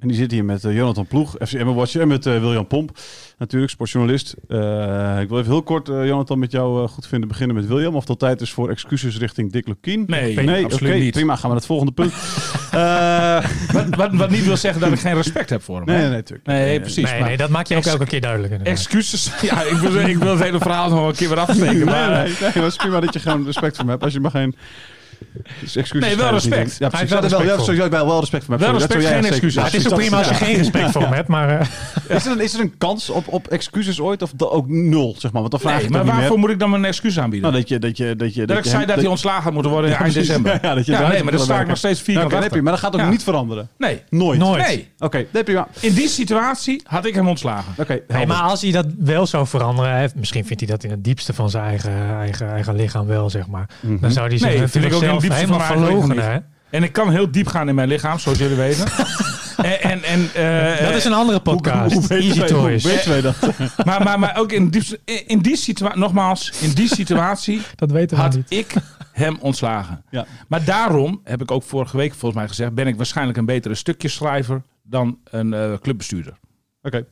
En die zit hier met eh, Jonathan Ploeg, FCM Watcher, en met eh, William Pomp, natuurlijk, sportjournalist. Eh, ik wil even heel kort, eh, Jonathan, met jou eh, goed vinden beginnen met William. Of dat tijd is voor excuses richting Dick Lukien? Nee, nee absoluut oké, niet. prima. Gaan we naar het volgende punt. Eh, Wat, wat, wat niet wil zeggen dat ik geen respect heb voor hem. nee, hè? nee, nee, tuurlijk. Nee, precies. Nee, maar nee, dat maak je ook elke keer duidelijk. inderdaad. Excuses. Ja, ik wil, ik wil het hele verhaal nog wel een keer weer afsteken. Nee, Maar, eh, nee, nee, maar het is prima dat je gewoon respect voor me hebt. Als je maar geen... Dus excuses Nee, wel ga je dus niet doen. Ja, respect. Hij precies. heeft wel Dat is respect ja, sorry, ja, wel, wel respect voor me. Wel Sorry, dat respect, zou jij geen zeggen. excuses. het is toch precies, prima als je dat- geen respect voor hem hebt, maar eh, ja. Is er, een, is er een kans op, op excuses ooit? Of da- ook nul, zeg maar? Want dan vraag nee, je maar toch niet waarvoor meer. moet ik dan een excuus aanbieden? Nou, dat je... Dat je, dat je dat je ik zei hem- dat hij ontslagen had moeten worden in eind precies. december. Ja, dat je eruit Nou, nee, maar wil dat sta ik werken. nog steeds Ja, vierkant oké, nee, achter. prima. maar dat gaat ook Ja. niet veranderen. Nee. Nooit. nooit. Nee. Oké, nee, prima. In die situatie had ik hem ontslagen. Oké, Nee, helder. maar als hij dat wel zou veranderen, hè, misschien vindt hij dat in het diepste van zijn eigen, eigen, eigen lichaam wel, zeg maar. Dan zou hij zich Nee, vind ik natuurlijk ook in het zelf diepste van helemaal mijn eigen verlogen. lichaam Hè? En ik kan heel diep gaan in mijn lichaam, zoals jullie weten. en, en, en, eh, Dat is een andere podcast. Hoe weten Easy wij- Hoe Toys. weten wij dat? maar, maar, maar ook in die, in die situatie, nogmaals, in die situatie Dat weten we had niet. ik hem ontslagen. Ja. Maar daarom, heb ik ook vorige week volgens mij gezegd, ben ik waarschijnlijk een betere stukjeschrijver dan een eh, clubbestuurder. Oké.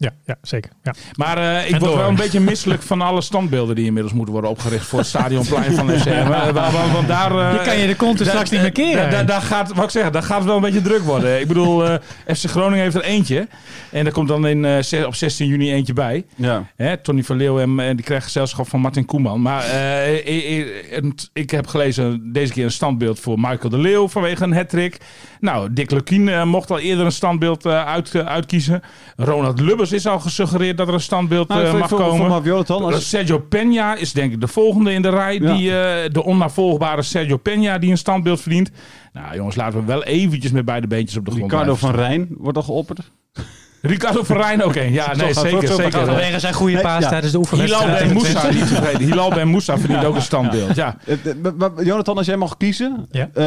Ja, ja zeker. Ja. Maar eh, ik En word door. wel een beetje misselijk van alle standbeelden die inmiddels moeten worden opgericht voor het stadionplein van FCM. Eh, wa- wa- wa- Want daar... eh, Je kan je de kont er da- straks niet meer keren. da- da- Daar gaat, wat ik zeg, daar gaat het wel een beetje druk worden. Ik bedoel, eh, FC Groningen heeft er eentje. En er komt dan in, eh, zes- op 16 juni eentje bij. Ja. Hè, Tony van Leeuwen en die krijgt gezelschap van Martin Koeman. Maar eh, eh, eh, en t- ik heb gelezen deze keer een standbeeld voor Michael de Leeuw vanwege een hattrick. Nou, Dick Lukien eh, mocht al eerder een standbeeld eh, uit, eh, uitkiezen. Ronald Lubbers is al gesuggereerd dat er een standbeeld Nou, eh, mag komen. Jonathan, Eh, Sergio Peña is denk ik de volgende in de rij. Ja. Die, eh, de onnavolgbare Sergio Peña die een standbeeld verdient. Nou jongens, laten we wel eventjes met beide beentjes op de grond Ricardo blijven van Rijn wordt al geopperd. staan. Ricardo van Rijn ook een. Ja, nee, gaat het zeker. ook zeker. wel. Vanwege zijn goede paas ja. tijdens de Hilal oefenwedstrijd. Ben Moussa, niet tevreden. Hilal Ben Moussa verdient ook een standbeeld. Ja. Eh, eh, maar- maar Jonathan, als jij mag kiezen. Ja. eh,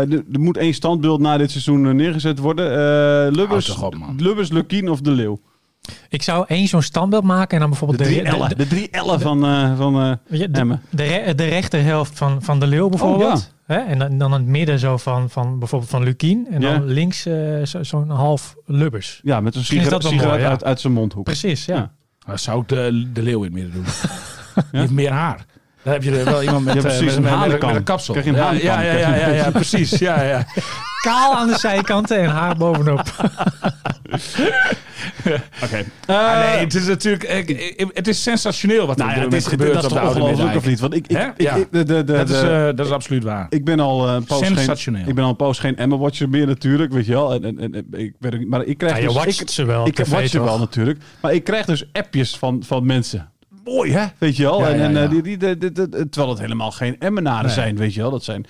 er er moet één standbeeld na dit seizoen eh, neergezet worden. Eh, Lubbers, Houd toch op, man. Lubbers, Lukien of De Leeuw? Ik zou één zo'n standbeeld maken en dan bijvoorbeeld de, de, De drie ellen van, eh van eh, Weet je, de, Emmen. de, re- de rechterhelft van, van de leeuw Oh, bijvoorbeeld. Hè? En dan, dan in het midden zo van, van bijvoorbeeld van Lukien. En Ja. dan links eh, zo- zo'n half lubbers. Ja, met een Misschien is sigaret, dat wel mooi, sigaret ja. uit, uit zijn mondhoek. Precies, ja. Ja. Dan zou ik de, de leeuw in het midden doen. Die heeft meer haar. Dan heb je er wel iemand met, Ja, eh, precies, met, een met- met- hanenkam. met een kapsel. Krijg je een ja, hanenkam, ja, ja, krijg je ja, een ja, ja, precies. Ja, ja. Kaal aan de zijkanten en haar bovenop. Oké. Eh, Ah, nee, het is natuurlijk... eh, eh, Het is sensationeel wat er Nou ja, op dit dit is, moment dit, dat gebeurt is op de toch Oude ongelooflijk Middijk. of niet? Want ik, ik, Hè? ik, Ja. ik- de, de, de, Dat is, de- eh, dat is absoluut waar. Ik ben al eh, een poos Sensationeel. Geen, ik ben al een poos geen Emma Watcher meer natuurlijk, weet je wel. En, en, en- en ik weet ook niet- maar ik krijg Ja, je dus, watcht ik, ze wel op Ik tv, watch ze toch? wel natuurlijk, maar ik krijg dus appjes van, van mensen. Mooi hè, weet je wel. Ja, en, ja, en, ja. eh, Die, die, die- die- die- terwijl het helemaal geen Emmenaren Nee. zijn, weet je wel. Dat zijn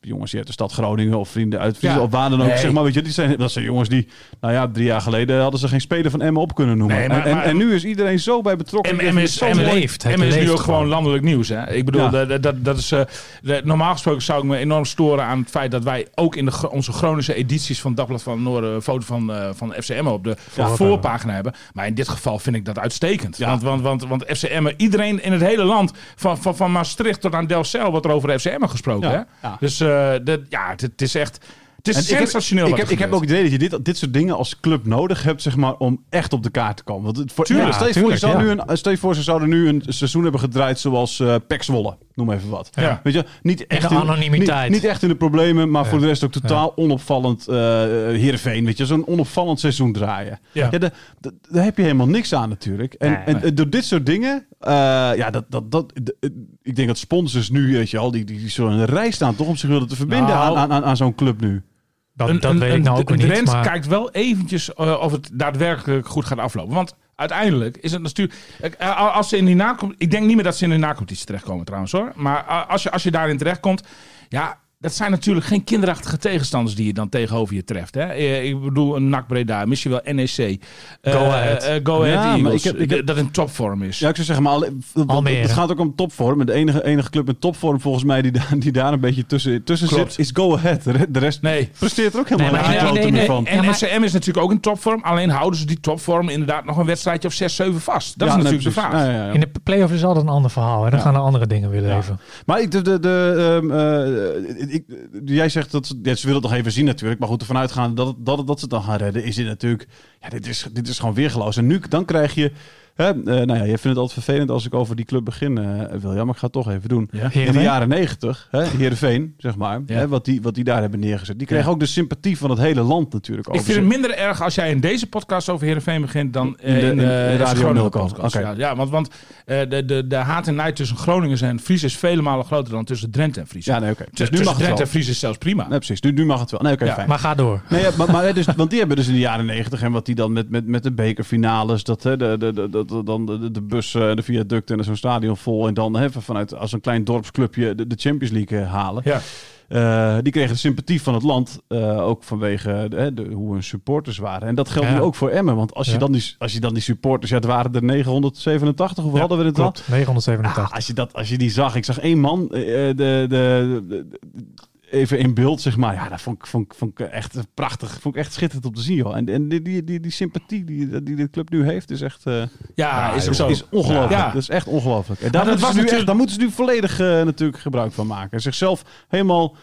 jongens die uit de stad Groningen of vrienden uit Friesland Ja. of waar dan ook, Nee. zeg maar, weet je, die zijn, dat zijn jongens die, nou ja, drie jaar geleden hadden ze geen speler van Emmen op kunnen noemen. Nee, maar- en, en, maar- en nu is iedereen zo bij betrokken. dus En Ik en vind is, het en zo het mooi. leeft, het en is nu leeft ook gewoon gewoon. landelijk nieuws. Hè? Ik bedoel, Ja. dat, dat, dat is, eh, de- normaal gesproken zou ik me enorm storen aan het feit dat wij ook in de, Gro- onze Groningse edities van Dagblad van het Noorden een foto van, eh, van FCM op de voorpagina hebben. Maar in dit geval vind ik dat uitstekend. Want, want, want, want FCM, eh, iedereen in het hele land, van, van, van Maastricht tot aan Delcel, wordt er over FCM gesproken. Ja. Hè? Dus eh, dat, ja, het, het is echt. Het Het En is ik heb- sensationeel Ik wat heb, er ik heb ook het idee dat je dit, dit soort dingen als club nodig hebt, zeg maar, om echt op de kaart te komen. Want het, voor, Tuurlijk, ja, stel, je voor, tuurlijk, je zou ja. nu een, stel je voor, ze zouden nu een seizoen hebben gedraaid zoals eh Pek Zwolle. Noem even wat. Ja. Weet je, niet echt de anonimiteit. Niet, niet echt in de problemen, maar voor de rest ook totaal onopvallend eh Heerenveen. Weet je, zo'n onopvallend seizoen draaien. Ja. daar- daar- daar heb je helemaal niks aan natuurlijk. En, Nee, en nee. eh, door dit soort dingen, eh, ja, dat, dat, dat, d- eh, ik denk dat sponsors nu, weet je al, die, die, die zullen in de rij staan toch om zich willen te verbinden Nou. aan, aan, aan, aan zo'n club nu. Dat, dat weet ik nou ook de weer niet. Drent Maar kijkt wel eventjes eh, of het daadwerkelijk goed gaat aflopen. Want uiteindelijk is het natuurlijk... eh, als ze in die nakom, ik denk niet meer dat ze in de nacompetitie terechtkomen trouwens hoor. Maar eh, als, je, als je daarin terechtkomt... Ja, dat zijn natuurlijk geen kinderachtige tegenstanders die je dan tegenover je treft. Hè? Eh, Ik bedoel een NAC Breda, misschien wel NEC. eh, Go Ahead. eh, go Ja, ahead maar Eagles, ik heb- ik heb- eh, dat in topvorm is. Ja, ik zou zeggen, maar alle- v- want Almere. het gaat ook om topvorm. En De enige, enige club met topvorm volgens mij die daar, die daar een beetje tussen, tussen Klopt. zit, is Go Ahead. De re- De rest Nee. presteert er ook helemaal Nee, nee, maar geen ja, klote nee, meer nee. van. En Ja, maar- NSM is natuurlijk ook in topvorm. Alleen houden ze die topvorm inderdaad nog een wedstrijdje of 6, 7 vast. Dat Ja, is nee, natuurlijk de precies. vraag. Ja, ja, ja. in de play-off is altijd een ander verhaal. En dan gaan er andere dingen weer leven. Maar ik, de, de, de, ehm, eh, ik, jij zegt dat ze, ja, ze willen het nog even zien natuurlijk. Maar goed, ervan uitgaan dat, het- dat, het- dat ze het dan gaan redden, is dit natuurlijk... Ja, dit is, dit is gewoon weergeloos. En nu, dan krijg je... Hè, eh, nou ja, je vindt het altijd vervelend als ik over die club begin, eh William. Maar ik ga het toch even doen. Ja. In de Heerenveen? jaren negentig, hè, Heerenveen, zeg maar. Ja. Hè, wat, die, wat die daar hebben neergezet. Die kregen ook de sympathie van het hele land natuurlijk over Ik vind het zich. minder erg als jij in deze podcast over Heerenveen begint dan eh, In in de- de, in de Radio Groningen Nulko. podcast. Oké. Ja, ja, want, want eh, de, de, de haat en nijd tussen Groningers en Fries is vele malen groter dan tussen Drenthe en Fries. Ja, nee, oké. Dus Dus nu mag het Drenthe wel. en Fries is zelfs prima. Nee, precies. Nu, nu mag het wel. Nee, oké, Ja, fijn. Maar ga door. Nee, ja, maar, maar hè, dus, want die hebben dus in de jaren negentig en wat die dan met, met, met de bekerfinales, dat hè, de, de, de, de, de- dan de, de bussen, en de viaducten en zo'n stadion vol en dan hè, vanuit als een klein dorpsclubje de, de Champions League eh, halen. Ja. Eh, die kregen de sympathie van het land, eh, ook vanwege eh, de, de- hoe hun supporters waren. En dat geldt Ja. nu ook voor Emmen, want als, je Ja. dan die, als je dan die supporters, ja, het waren er 987, hoeveel hadden we het dan? Klopt, 987. Ah, als, je dat, als je die zag, ik zag één man eh, de, de, de- de- even in beeld, zeg maar. Ja, dat vond ik, vond, ik- vond ik echt prachtig. Vond ik echt schitterend om te zien, joh. En, en die, die, die, die sympathie die, die de club nu heeft, is echt, eh, Ja, is ook zo. is ongelooflijk. Ja. Dat is echt ongelooflijk. En dat daar, moeten was ze nu echt, natuurlijk- daar moeten ze nu volledig eh, natuurlijk gebruik van maken. Zichzelf helemaal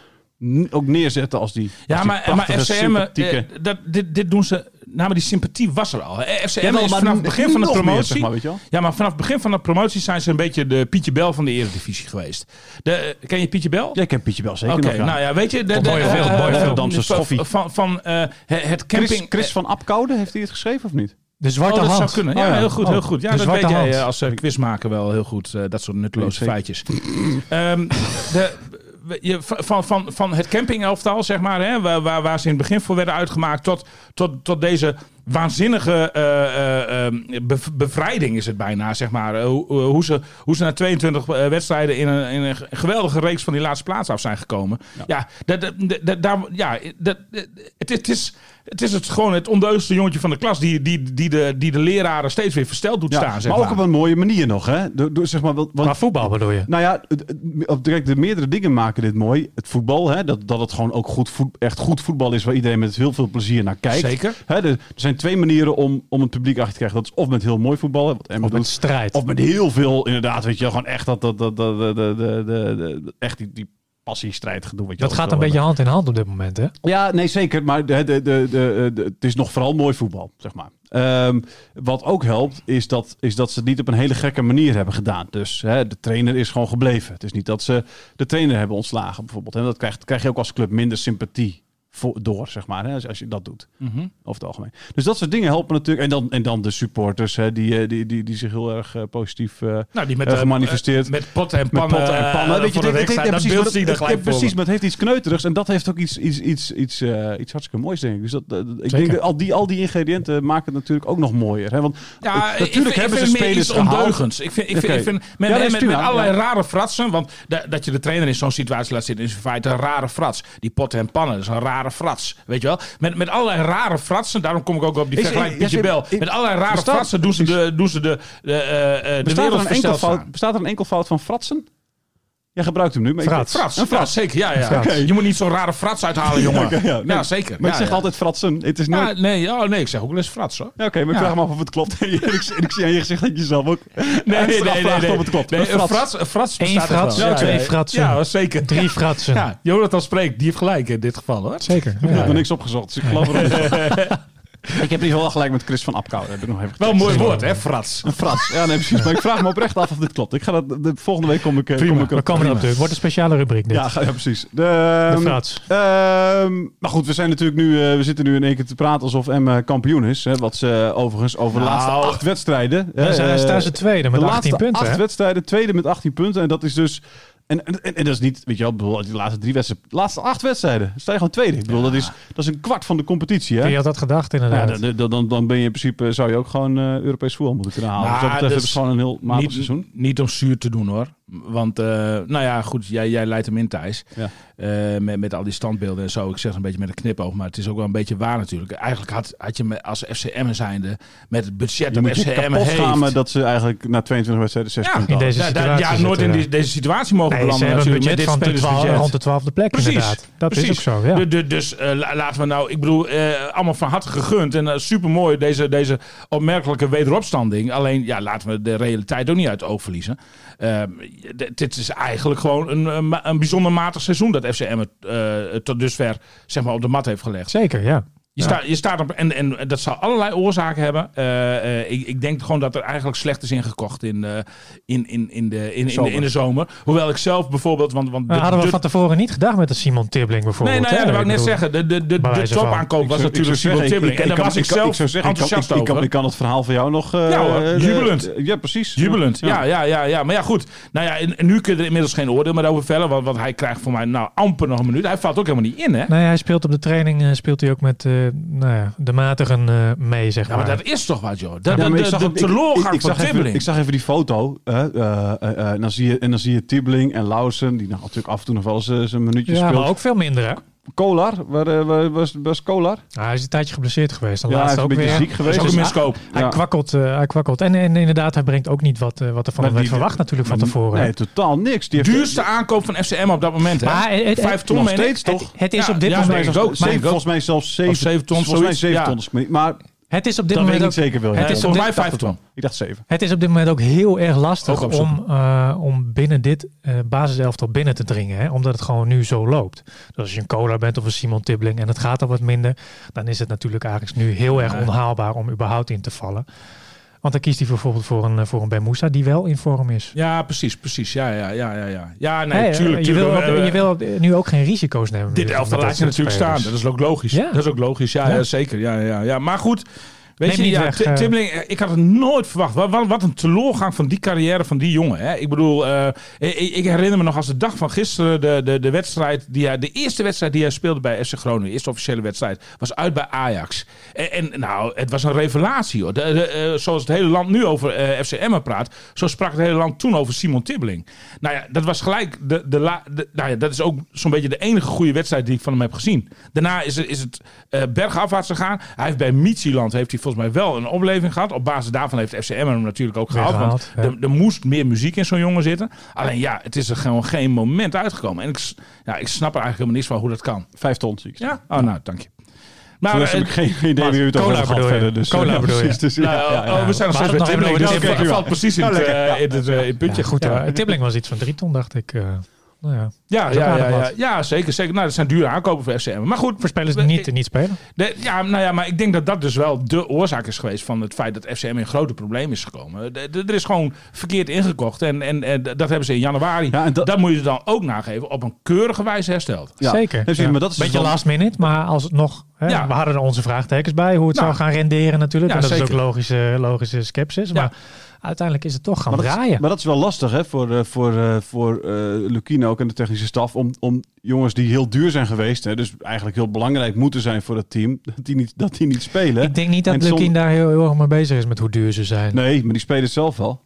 n- ook neerzetten als die als Ja, die maar, maar prachtige, FCM, sympathieke... eh, dat, dit, dit doen ze... Nou, maar die sympathie was er al. Eh, FCM Jawel, is maar vanaf het nu- begin van de nog meer, promotie... zeg maar, weet je wel. Ja, maar vanaf het begin van de promotie zijn ze een beetje de Pietje Bel van de Eredivisie geweest. De, eh, ken je Pietje Bel? Ja, ik heb Pietje wel zeker Oké, nog, ja. nou ja, weet je... De, Komt mooi veel, eh, mooi eh, veel. Rotterdamse van- schoffie. Van, van eh, het het Chris, camping... eh, Chris van Apkoude, heeft hij het geschreven of niet? De zwarte Oh, dat hand. zou kunnen. Ja, Oh ja. heel goed, Oh, heel goed. Ja, de dat weet zwarte jij hand. eh, als eh, quizmaker wel heel goed. eh, dat soort nutteloze Nee, feitjes. Ehm, de, we- je, van, van, van het campingelftal, zeg maar, hè, waar, waar, waar ze in het begin voor werden uitgemaakt... tot, tot, tot deze waanzinnige eh, eh, eh, bev- bevrijding is het bijna, zeg maar. Eh, hoe, eh, hoe, ze, hoe ze na 22 wedstrijden in een, in een geweldige reeks van die laatste plaats af zijn gekomen. Ja, dat, dat, dat- daar, ja dat, dat- het, het is... Het is het, gewoon het ondeugste jongetje van de klas die, die, die, de, die de leraren steeds weer versteld doet staan. Zeg maar maar ook op een mooie manier nog, hè? Door, door, zeg maar, want- want- Qua voetbal bedoel je? Nou ja, het- het- op- kijk, de meerdere dingen maken dit mooi. Het voetbal, hè, dat, dat het gewoon ook goed voet, echt goed voetbal is waar iedereen met heel veel plezier naar kijkt. Zeker. Hè, er, er zijn twee manieren om, om het publiek achter te krijgen. Dat is of met heel mooi voetbal, hè, wat Emma Of met doet, strijd. of met heel veel, inderdaad, weet je wel, gewoon echt dat, dat, dat, dat, dat, dat- dat- dat- dat- echt die, die passiestrijd gedoe. Weet je Dat wel, gaat een wel beetje hand in hand op dit moment, hè? ja, nee, zeker. Maar de, de, de, de, de- het is nog vooral mooi voetbal, zeg maar. Ehm, wat ook helpt, is dat, is dat ze het niet op een hele gekke manier hebben gedaan. Dus hè, de trainer is gewoon gebleven. Het is niet dat ze de trainer hebben ontslagen, bijvoorbeeld. En dat krijgt, krijg je ook als club minder sympathie voor, door, zeg maar, hè, als, als je dat doet. Mhm. Over het algemeen. Dus dat soort dingen helpen natuurlijk. En dan, en dan de supporters, hè, die, eh, die, die, die zich heel erg eh, positief eh, Nou, die met, eh, eh, gemanifesteerd. eh, met potten en Met pannen. potten en pannen. eh, Weet je, voor dit, de dit, dit, wedstrijd. ja, Dat precies, beeld zie je maar dat- er ja, gelijk voor precies, me. maar het heeft iets kneuterigs. En dat heeft ook iets, iets, iets, iets, eh, iets hartstikke moois, denk ik. Dus dat, dat- ik denk dat al die, al die ingrediënten maken het natuurlijk ook nog mooier. Hè? Want eh, Ja, ik- natuurlijk ik, hebben ik ze vind het meer spelers iets gehaald. ondeugends. Ik vind, ik vind, Oké. ik vind Ja, met, dat is met, met prima, allerlei ja. rare fratsen. Want da- dat je de trainer in zo'n situatie laat zitten is in feite een rare frats. Die potten en pannen, dat is een rare frats. Weet je wel? Met, met allerlei rare fratsen, daarom kom ik ook op die Is- vergelijking is- met je bel. is- Met allerlei rare bestaat- fratsen doen ze de, doen ze de, de, eh, eh, de Bestaat er, wereld een enkel versteld fout, staan. bestaat er een enkel fout van fratsen? Jij gebruikt hem nu, maar ik- Frats. Frats, een frats. zeker. Ja, ja. Frats. Oké. Je moet niet zo'n rare frats uithalen, jongen. Oké, ja, ja, nee. zeker. Maar ja, ik zeg ja. altijd fratsen. Het is nooit... Ah, nee, ja, nee, ik zeg ook wel eens frats, hoor. Ja, Oké, maar ik Ja. vraag me af of het klopt. en ik, en ik zie aan je gezicht dat je zelf ook Nee, nee, nee. nee, of het klopt. Nee, Een een frats. frats, een frats Eén bestaat echt frats, wel. twee ja, fratsen. Ja, zeker. Drie fratsen. Ja, Jonathan spreekt. Die heeft gelijk in dit geval, hoor. Zeker. Ik heb Ja. er niks opgezocht, dus ik geloof er Ik heb niet wel gelijk met Chris van Apkoude. Heb ik nog even Wel een mooi woord, hè, frats. Een frats. Ja, nee, precies. Maar ik vraag me oprecht af of dit klopt. Ik ga dat, de, volgende week kom ik... eh, Kom ik We komen erop terug. Wordt een speciale rubriek dit. ja, ehm, ga- ja, precies. De, De frats. ehm, maar goed, we zijn natuurlijk nu, eh, we zitten nu in één keer te praten alsof Emma kampioen is. Hè, wat ze eh, overigens over de laatste acht wedstrijden... hè, Dan Nou. zijn- eh, staan ze tweede met de 18 laatste punten. acht hè? wedstrijden, tweede met 18 punten. En dat is dus... En, en, en- en dat is niet, weet je wel, ik bedoel, de laatste drie wedstrijden, de laatste acht wedstrijden, sta je gewoon tweede. Ik bedoel, dat, is, dat is een kwart van de competitie, hè? Wie had dat gedacht Ja, inderdaad? dan, dan- dan, dan ben je in principe, zou je ook gewoon eh, Europees voetbal moeten kunnen halen. Maar dus dat betreft dat het is is gewoon een heel matig niet, seizoen. Niet om zuur te doen hoor. Want, eh, nou ja, goed, jij, jij leidt hem in Thijs. Ja. Eh, met, met al die standbeelden en zo. Ik zeg het een beetje met een knipoog, maar het is ook wel een beetje waar natuurlijk. Eigenlijk had, had je me als FCM zijnde met het budget Je dat moet je FCM kapot heeft... schamen dat ze eigenlijk na 22 wedstrijden 6 ja, punten in hadden. deze ja, situatie ja, zitten, nooit in ja. die- deze situatie mogen Nee, ze belanden. hebben een budget natuurlijk, van met de dit 12, spelersbudget. rond de twaalfde plek Precies. inderdaad. Dat Precies. is ook zo, ja. Du- du- Dus eh, la- laten we nou, ik bedoel, eh, allemaal van harte gegund. En super mooi deze, deze opmerkelijke wederopstanding. Alleen, ja, laten we de realiteit ook niet uit het oog verliezen. Ehm, d- dit is eigenlijk gewoon een, een, ma- een bijzonder matig seizoen dat FCM het eh, tot dusver zeg maar, op de mat heeft gelegd. Zeker, ja. Je, staat, je staat op, en, en dat zal allerlei oorzaken hebben. Eh, eh, ik, ik denk gewoon dat er eigenlijk slecht is ingekocht in, eh, in, in, in, de, in, in, de, in de zomer. Hoewel ik zelf bijvoorbeeld. Want, want Dat de- hadden we de- van tevoren niet gedacht met de Simon Tibbling bijvoorbeeld. Nee, nou ja, hè? dat wou ik net bedoel, zeggen. De, de, de, Bij de wijze van. topaankoop Ik was zou- ik natuurlijk zou Simon zeggen, Tibbling. ik- En ik daar kan- was ik ik kan- zelf ik zou zeggen, ik kan- enthousiast ik- ik kan- over. Ik kan het verhaal van jou nog... eh, Ja hoor, eh, jubelend. eh, Ja, precies. Jubelend, Ja. ja, ja, ja, ja. Maar ja, goed. Nou ja, en, en nu kun je er inmiddels geen oordeel meer over vellen. Want, want hij krijgt voor mij nou amper nog een minuut. Hij valt ook helemaal niet in, hè? Nee, hij speelt op de training eh, speelt hij ook met eh, nou ja, de matigen eh, mee, zeg Ja, maar. maar dat is toch wat, joh. De, Ja, de, maar ik de, zag de ook- ik- ik- teleurgang ik van zag even- Tibbling. Ik zag even die foto. hè, eh, eh, eh, en, dan zie je, en dan zie je Tibbling en Lausen. Die nou natuurlijk af en toe nog wel eens eh, zijn minuutje ja, speelt. maar ook veel minder, hè? Kolar. Waar, eh, waar was, was Kolar? Nou, hij is een tijdje geblesseerd geweest. Dan Ja, hij laatst is een ook beetje weer. ziek Dat geweest. is ook Dus- een miskoop. Hij Ja. kwakkelt, eh, hij kwakkelt. En, en inderdaad, hij brengt ook niet wat, eh, wat er Maar van hem werd die- verwacht natuurlijk van Maar tevoren. Nee, totaal niks. Die heeft- Duurste aankoop van FCM op dat moment, hè? Maar eh, het- het- Vijf ton, nog meen ik. Eh, steeds toch? Het is Ja, op dit ja, moment, nee. volgens, denk ik ook, mij- denk ik ook. volgens mij zelfs zeven, Of Oh, zeven ton, Volgens mij zoiets, zeven ja. ton. is het niet, Maar het is op dit dat weet ik moment niet ook, zeker, William. het is Eh, op Volgens dit- mij vijf ton. Ik dacht zeven. het is op dit moment ook heel erg Ook lastig opzoeken. om, eh, om binnen dit eh basiselftal binnen te dringen. Hè? Omdat het gewoon nu zo loopt. Dus als je een cola bent of een Simon Tibbling en het gaat al wat minder, dan is het natuurlijk Ajax nu heel erg onhaalbaar om überhaupt in te vallen. Want dan kiest hij bijvoorbeeld voor een, eh, voor een Ben Moussa die wel in vorm is. Ja, precies, precies. Ja, ja, ja, ja. Ja, ja nee, Hè, tuurlijk. je, tuurlijk. wil, Eh, je wil nu ook geen risico's nemen. Dit met- elftal met laat dat je soort natuurlijk spelers. staan. Dat is ook logisch. dus. Ja. Dat is ook logisch. Ja, Ja. ja, zeker. Ja, ja, ja. Maar goed. Weet Neem je, niet ja, weg, Ti- eh. Tibbling, eh, ik had het nooit verwacht. Wat, wat, wat een teleurgang van die carrière van die jongen. Hè? Ik bedoel, eh, ik, ik herinner me nog als de dag van gisteren de, de, de wedstrijd die hij, de eerste wedstrijd die hij speelde bij FC Groningen, de eerste officiële wedstrijd, was uit bij Ajax. En, en nou, het was een revelatie hoor. De, de, eh, zoals het hele land nu over eh FC Emmen praat, zo sprak het hele land toen over Simon Tibbling. Nou ja, dat was gelijk de, de, la, de- nou ja, dat is ook zo'n beetje de enige goede wedstrijd die ik van hem heb gezien. Daarna is, er- is het eh, bergafwaarts gegaan. Hij heeft bij Michieland heeft hij volgens mij wel een opleving gehad. Op basis daarvan heeft FCM hem natuurlijk ook Weer gehaald. Want gehaald, ja. er, er moest meer muziek in zo'n jongen zitten. Alleen ja, het is er gewoon geen moment uitgekomen. En ik, s- ja, ik snap er eigenlijk helemaal niks van hoe dat kan. Vijf ton zie ik. Ja? Oh, nou, dank je. Maar, Voor de rest heb ik eh, geen geen idee wie het over cola hebben gehad bedoel je? verder. Dus, Cola ja, bedoel je? precies, dus, ja, nou, ja, ja. oh, we zijn nog Maar steeds dat nog bij even Tibbling. Dat over de oké, tip. dat valt precies in Ja, het, lekker, eh, ja. in het, eh, in het puntje. Ja, goed, Ja. eh, Tibbling was iets van drie ton, dacht ik. eh. nou ja. Ja, is ook ja, ja, aardig ja, wat. ja, zeker. zeker. Nou, dat zijn dure aankopen voor FCM. Maar goed, Voor spelers we- die niet, niet spelen. De- ja, nou ja, maar ik denk dat dat dus wel de oorzaak is geweest van het feit dat FCM in grote problemen is gekomen. De- de- Er is gewoon verkeerd ingekocht en, en, en dat hebben ze in januari. Ja, en dat- dat... moet je dan ook nageven op een keurige wijze hersteld. Ja. Zeker. Nee, precies, Ja. maar dat is dus Beetje dan- last minute, maar als het nog... Hè, Ja. We hadden er onze vraagtekens bij hoe het Nou. zou gaan renderen natuurlijk. Ja, en dat is zeker. ook logische, logische sceptisch. Ja. Maar uiteindelijk is het toch gaan Maar dat, is, draaien. maar dat is wel lastig hè, voor, eh, voor, eh, voor eh Lukien ook en de technische staf. Om, om jongens die heel duur zijn geweest, hè, dus eigenlijk heel belangrijk moeten zijn voor het team, dat die niet, dat die niet spelen. ik denk niet En dat som- Lukin daar heel, heel erg mee bezig is met hoe duur ze zijn. Nee, maar die spelen het zelf wel.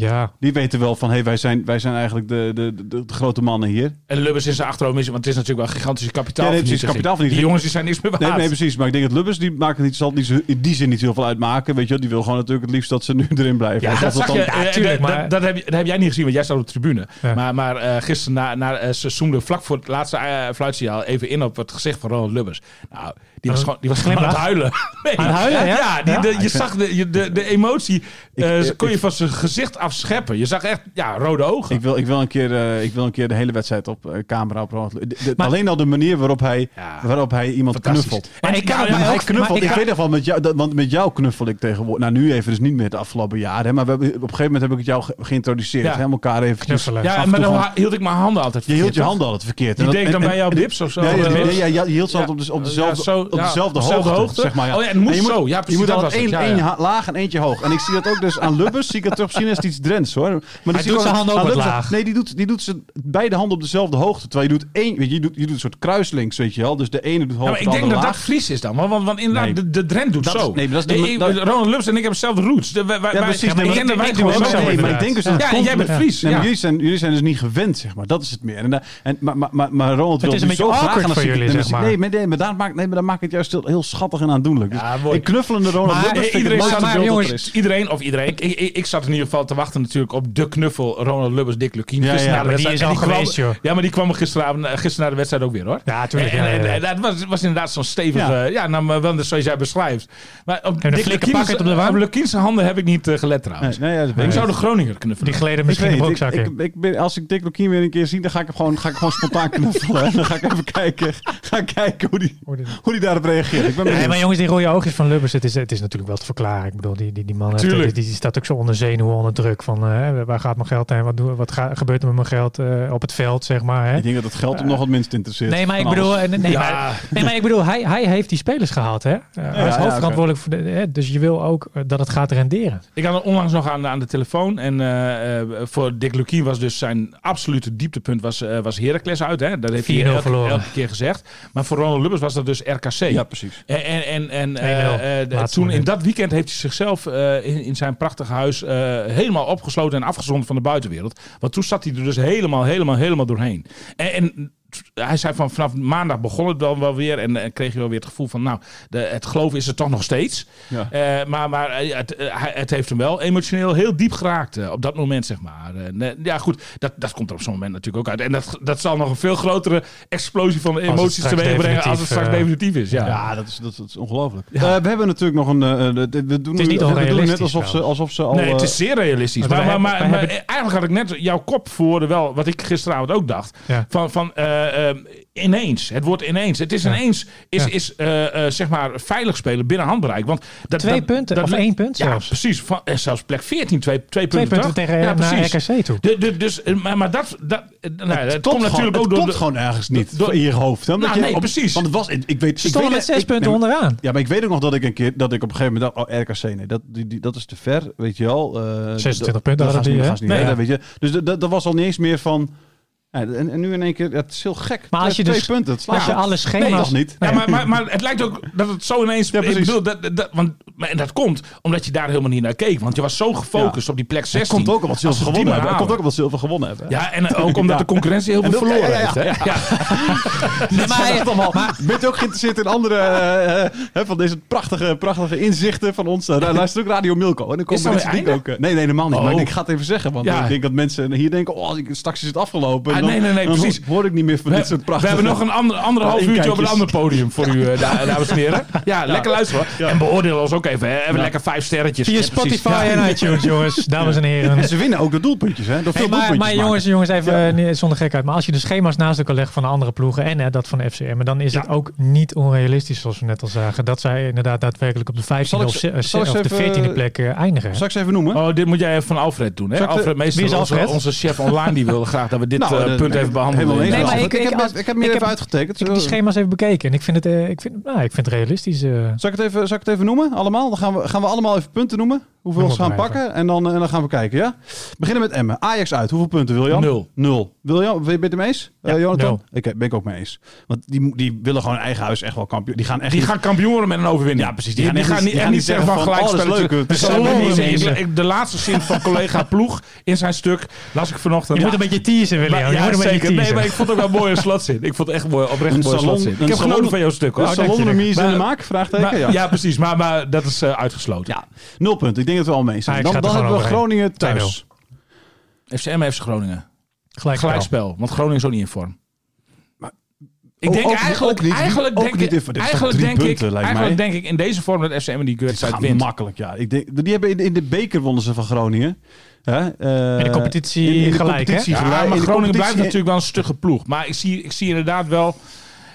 Ja, Die weten wel van, hey, wij, zijn, wij zijn eigenlijk de, de, de, de grote mannen hier. En Lubbers in zijn achterhoofd is, want het is natuurlijk wel gigantische kapitaal. Ja, nee, precies, kapitaalvernietiging. Die jongens die zijn niks meer Nee, waard. nee, precies. Maar ik denk dat Lubbers, die maakt het niet, zal het niet zo, in die zin niet heel veel uitmaken. Weet je wel, die wil gewoon natuurlijk het liefst dat ze nu erin blijven. Ja, Want dat dat zag dan- je. eh, tuurlijk, dat- maar- dat, dat, heb, je- dat heb jij niet gezien, want jij staat op de tribune. Ja. Maar, maar eh, gisteren na, na, eh, ze zoomde vlak voor het laatste eh, fluitsignaal even in op het gezicht van Ronald Lubbers. Nou, die was, Oh, gewoon, die was gewoon aan het glimlach? huilen. Nee, Aan het huilen, ja? die, Ja? de- je Ik zag de, je- de, de emotie, eh, Ik- ze kon je ik- van zijn gezicht afscheppen. Je zag echt, ja, rode ogen. Ik wil, ik, wil een keer, eh, ik wil een keer de hele wedstrijd op eh, camera op Ronald Lu- de- de- Maar- Alleen al de manier waarop hij, Ja. waarop hij iemand Fantastisch. knuffelt. En ik kan het ja, mij maar Hij ook- ik- knuffelt. maar Ik, ik- weet nog wel, met jou, dat, want met jou knuffel ik tegenwoordig. Nou, nu even dus niet meer het afgelopen jaar. Hè, maar we hebben, op een gegeven moment heb ik het jou ge- geïntroduceerd. Ja. Hè, om elkaar even Knuffelen. Ja, af en maar toe dan gewoon- ha- hield ik mijn handen altijd Je hield je verkeerd, handen altijd verkeerd. toch? En Die dat- deed ik dan en- bij en- jouw dips of zo. Nee, Eh, nee, dips. nee, ja, ja, je hield ze Ja. altijd op, de, op Ja, dezelfde, zo, op ja, dezelfde op dezelfde hoogte, hoogte. Zeg maar, ja. Oh ja, en het moest je moet, zo. Ja, precies, Je moet dat altijd was één, het. Ja, één ja. ha- laag en eentje hoog. En ik zie dat ook dus aan Lubbers. Zie ik het terug. Misschien is het iets Drents hoor. Maar dat zie ik doet ook zijn aan- handen ook aan wat Lubbers. laag. Nee, die doet, die doet ze beide handen op dezelfde hoogte. Terwijl je doet één, weet je, je doet, je doet een soort kruislinks, weet je wel. Dus de ene doet hoog, Ja, maar de ik andere denk dat dat laag. Fries is dan. Want, want, want inderdaad, Nee. de, de Drent doet Dat is- zo. nee, dat is de- Eh, eh, dat- Ronald Lubbers en ik hebben dezelfde roots. De- wij- wij- Ja, wij- precies. ik Nee, denk dat maar- wij nee, gewoon maar- zo nee, maar ik inderdaad. denk dus dat het Ja, en komt- jij bent Ja. Nee, Fries. maar ja. jullie, zijn, jullie zijn dus niet gewend, zeg maar. Dat is het meer. En, da- en, maar, maar, maar, maar Ronald wil is een nu beetje zo awkward graag aan voor jullie, zeg maar. Nee, maar, nee, maar, daar maakt, nee, maar daar maakt het juist heel, heel schattig en aandoenlijk. Dus Ja, mooi. ik knuffelende Ronald Maar eh, Lubbers vind ik iedereen het mooiste zat, beeld dat er jongens, is. iedereen of iedereen. Ik, ik, ik zat in ieder geval te wachten natuurlijk op de knuffel Ronald Lubbers, Dick Lukien. Ja, ja, Gisteren na de maar die wedstrijd. is En al kwam- geweest, joh. Ja, maar die kwam er gisteravond, eh, gisteren na de wedstrijd ook weer, hoor. Ja, tuurlijk, En, en- ja, ja, ja. en dat was, was inderdaad zo'n stevige, ja, nou, maar wel zoals jij beschrijft. Maar op een Dick flinke Lukien's- pakket op de wang? Op Lukien's handen heb ik niet eh, gelet trouwens. Nee, nee, ja, dat weet Hoe ik zou de niet. Groninger knuffelen? die gleden Ik misschien weet de niet. broekzak Ik, in. ik, ik ben, als ik Dick Lukien weer een keer zie, dan ga ik hem gewoon, ga ik gewoon spontaan knuffelen. En dan ga ik even kijken, ga ik kijken hoe die, hoe die daarop reageert. Ik ben benieuwd. Nee, maar jongens, die rode oogjes van Lubbers, het is, het is natuurlijk wel te verklaren. Ik bedoel, die, die, die man heeft- Tuurlijk. die, die staat ook zo onder zenuwen, onder druk. Van eh, waar gaat mijn geld heen? Wat, doe, wat ga- gebeurt er met mijn geld eh, op het veld, zeg maar. Hè? Ik denk dat het geld hem nog het minst interesseert. Nee, maar ik van alles. bedoel, eh, nee, Ja. maar, nee, maar ik bedoel hij, hij heeft die spelers gehaald. Hè? Eh, hij is ja, hoofdverantwoordelijk voor de, hè, Dus je wil ook eh, dat het gaat renderen. Ik had het onlangs nog aan, aan de telefoon. En eh, eh, voor Dick Lukien was dus zijn absolute dieptepunt was, eh, was Heracles uit. Hè? Dat heeft hij 4-0 elke, verloren. elke keer gezegd. Maar voor Ronald Lubbers was dat dus RKC. Ja, precies. En, en, en, en 1-0, eh, eh, laatste toen in minuut. dat weekend heeft hij zichzelf eh, in, in zijn prachtige huis eh, helemaal opgesloten en afgezonderd van de buitenwereld. Want toen zat hij er dus helemaal, helemaal, helemaal doorheen. En, en t- hij zei van vanaf maandag begon het dan wel weer. En, eh, kreeg je wel weer het gevoel van nou, de, het geloof is er toch nog steeds. Ja. Eh, maar maar eh, het, eh, hij- het heeft hem wel emotioneel heel diep geraakt eh, op dat moment, zeg maar. Eh, nee, ja, goed, dat, dat komt er op zo'n moment natuurlijk ook uit. En dat, dat zal nog een veel grotere explosie van emoties straks teweeg brengen als definitief, het straks eh, definitief is. Ja. Ja, dat is, dat is, dat is ongelooflijk. Eh, we hebben natuurlijk nog een... eh, eh, we doen nu, we niet doen net onrealistisch alsof ze, trouwens. alsof ze al... nee, het eh, is zeer realistisch. Maar Maar, wij maar, maar, hebben- wij maar eigenlijk had ik net jouw kop voor de wel, wat ik gisteravond ook dacht. Ja. Van, van eh, eh, ineens. Het wordt ineens. Het is Ja. ineens, is, Ja. is eh, eh, zeg maar veilig spelen binnen handbereik. Want dat, Twee dat- punten, dat- of één punt ja, zelfs. precies. Van, eh, zelfs plek 14, twee, twee, Twee punten, punten toch? tegen eh, ja, naar precies. RKC toe. De, de, dus, eh, maar, maar dat, dat, eh, nou, Het het, komt klopt natuurlijk gewoon, het ook door klopt de- gewoon ergens niet door- in je hoofd. Hè? Omdat Nou, je nee, precies. Want het was, ik, ik weet, Ze ik stonden weet, met zes ik- punten nee, maar- onderaan. Ja, maar ik weet ook nog dat ik een keer dat ik op een gegeven moment dacht, oh RKC, nee, dat, die, die- dat is te ver, weet je wel. Eh, 26 dat- punten dat hadden gaan ze die, niet- hè? gaan ze niet Nee. redden, weet je. Dus dat- dat dat was al niet eens meer van. ja, En, en nu in één keer, ja, het is heel gek. Maar als je twee dus- punten, het slaat Als je op. alle Nee, schema's... dat niet. Ja, maar, maar, maar het lijkt ook dat het zo ineens... Ja, ik precies. bedoel, dat, dat, want, maar- en dat komt omdat je daar helemaal niet naar keek. Want je was zo gefocust op die plek 16. Het komt ook omdat Als zilver ze die gewonnen maar hebben. Het komt ook halen. omdat zilver gewonnen hebben. Ja, en eh, ook omdat de concurrentie heel veel En dat- verloren ja, ja, ja. heeft. Hè? Ja. Nee, maar hij- Echt allemaal. Bent u ook geïnteresseerd in andere eh, eh, hè, van deze prachtige, prachtige inzichten van ons? Nou, luister ook Radio Milko. En dan Is komen dat mensen het denk ik ook. einde? eh, nee, nee, helemaal niet. Oh. Maar ik, denk, ik ga het even zeggen, want Ja. ik denk dat mensen hier denken: oh, als ik- straks is het afgelopen. Ah, dan, nee, nee, nee, dan precies. Hoor ik niet meer van We, dit soort we prachtige. hebben nog een ander, anderhalf uurtje op een inkijkjes. ander podium voor u, eh, da- dames en heren. Ja, lekker luisteren. hoor. En beoordeel ons ook even. Hè. Even lekker vijf sterretjes. Via Ja, precies. Spotify en iTunes, jongens. Dames en heren. En ze winnen ook de doelpuntjes, hè? Door veel Hey, maar doelpuntjes maar maken. jongens, jongens, even eh, nee, zonder gekheid. Maar als je de schema's naast elkaar legt van de andere ploegen en hè, dat van FCM, dan is het ook niet onrealistisch, zoals we net al zagen, dat zij inderdaad daadwerkelijk op de 15e Zal ik of, ze- ze- eh, zal ik of ze de even- 14e plek eh, eindigen. Zal ik ze even noemen? Oh, dit moet jij even van Alfred doen. Hè? Zal ik de- Alfred Meester, Wie is onze- Alfred? Onze, chef online, die wilde graag dat we dit Nou, eh, dat- punt even behandelen. Helemaal eens. Nou, Nee, maar Alfred. ik, ik- ik- heb, als- ik heb meer ik even heb- uitgetekend. Ik heb die Zal schema's even bekeken en ik vind het, ah, eh, ik vind, nou, ik vind het realistisch. eh. ik het even, zal ik het even noemen, allemaal? Dan gaan we, gaan we allemaal even punten noemen. Hoe Hoeveel Noem ze gaan maar even. pakken en dan, eh, en dan gaan we kijken, ja? Beginnen met Emmen. Ajax uit. Hoeveel punten, Wiljan? Nul. Nul. Wiljan, ben je het mee eens? Eh, Ja, Jonathan? nul. Oké, ben ik ook mee eens. Want die, die willen gewoon eigen huis echt wel kampioen. Die gaan echt Die niet- gaan kampioen worden met een overwinning. Ja, precies. Die Die, gaan die echt gaan niet- niet, die echt gaan niet zeggen niet van zeggen van, gelijkspel. oh, dat is leuk, het De, is allemaal Salon is- mensen. ik- ik- de laatste zin van collega Ploeg in zijn stuk las ik vanochtend. Je moet een beetje teasen, William. Maar- je moet ja, een beetje zeker. teasen. Nee, maar ik vond het ook wel een mooie slotzin. Ik vond het echt mooi, oprecht een Een mooie salon- slotzin. Ik een heb salon- genoten van jouw stuk. hoor. Oh, Een salonremise in de maak? Vraagteken, Maar- ja. ja. precies. Maar, maar dat is eh, uitgesloten. Ja, nul punten. Ik denk dat we al mee zijn. Ajax Dan, gaat dan er hebben we gewoon Groningen thuis. FCM, FC Groningen. Gelijk spel. Gelijkspel. Want Groningen is ook niet in vorm. Ik Ook- denk ook- eigenlijk, ook niet- eigenlijk ook denk niet ik- in vorm. Dit is toch eigenlijk drie denk ik, punten, lijkt eigenlijk mij. denk ik in deze vorm dat FCM die Het wedstrijd gaat wint. makkelijk, ja. Ik denk, die hebben in, in de beker wonnen ze van Groningen. Hè? Eh, In de competitie in- in de gelijk, hè? competitie Ja, gelijk. In maar de Groningen blijft competitie- natuurlijk wel een stugge ploeg. Maar ik zie, ik zie inderdaad wel...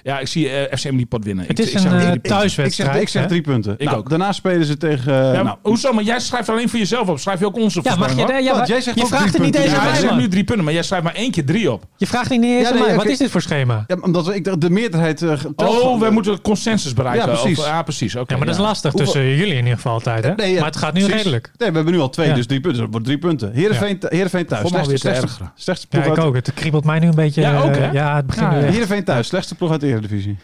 Ja, ik zie eh, FCM die pot winnen. Het Ik- is ik zeg een drie eh, punten. Ik zeg, thuiswedstrijd. ik zeg hè? drie punten. Ik nou, ook. Daarna spelen ze tegen... eh, Ja, nou, hoezo? Maar jij schrijft alleen voor jezelf op. Schrijf je ook onze Ja, mag je daar? Ja, Want maar- jij zegt je ook vraagt drie er niet eens punten. ja, aan hij mij, zegt nu man. drie punten, maar jij schrijft maar één keer drie op. Je vraagt er niet eens Ja, aan nee, mij. oké. Wat is dit voor schema? ja, omdat we- ik dacht, de meerderheid... eh, getelt Oh, gewoon- wij moeten consensus bereiken. Ja, precies. Of- ah, precies. Oké. Ja, maar dat is lastig Hoeveel- tussen jullie in ieder geval altijd, hè? Nee, ja, maar het gaat nu precies. redelijk. Nee, we hebben nu al twee, Ja. dus drie punten. Dus dat wordt drie punten. Heerenveen, Heerenveen thuis. Voor mij Slechtste, weer te slechtste, ergeren. slechtste Ja, ploeg ik uit... Ah, ook. Het kriebelt mij nu een beetje. Ja, ook, eh, hè? ja, het begint Ja, nu echt. Heerenveen thuis. Slechtste ploeg uit de Eredivisie.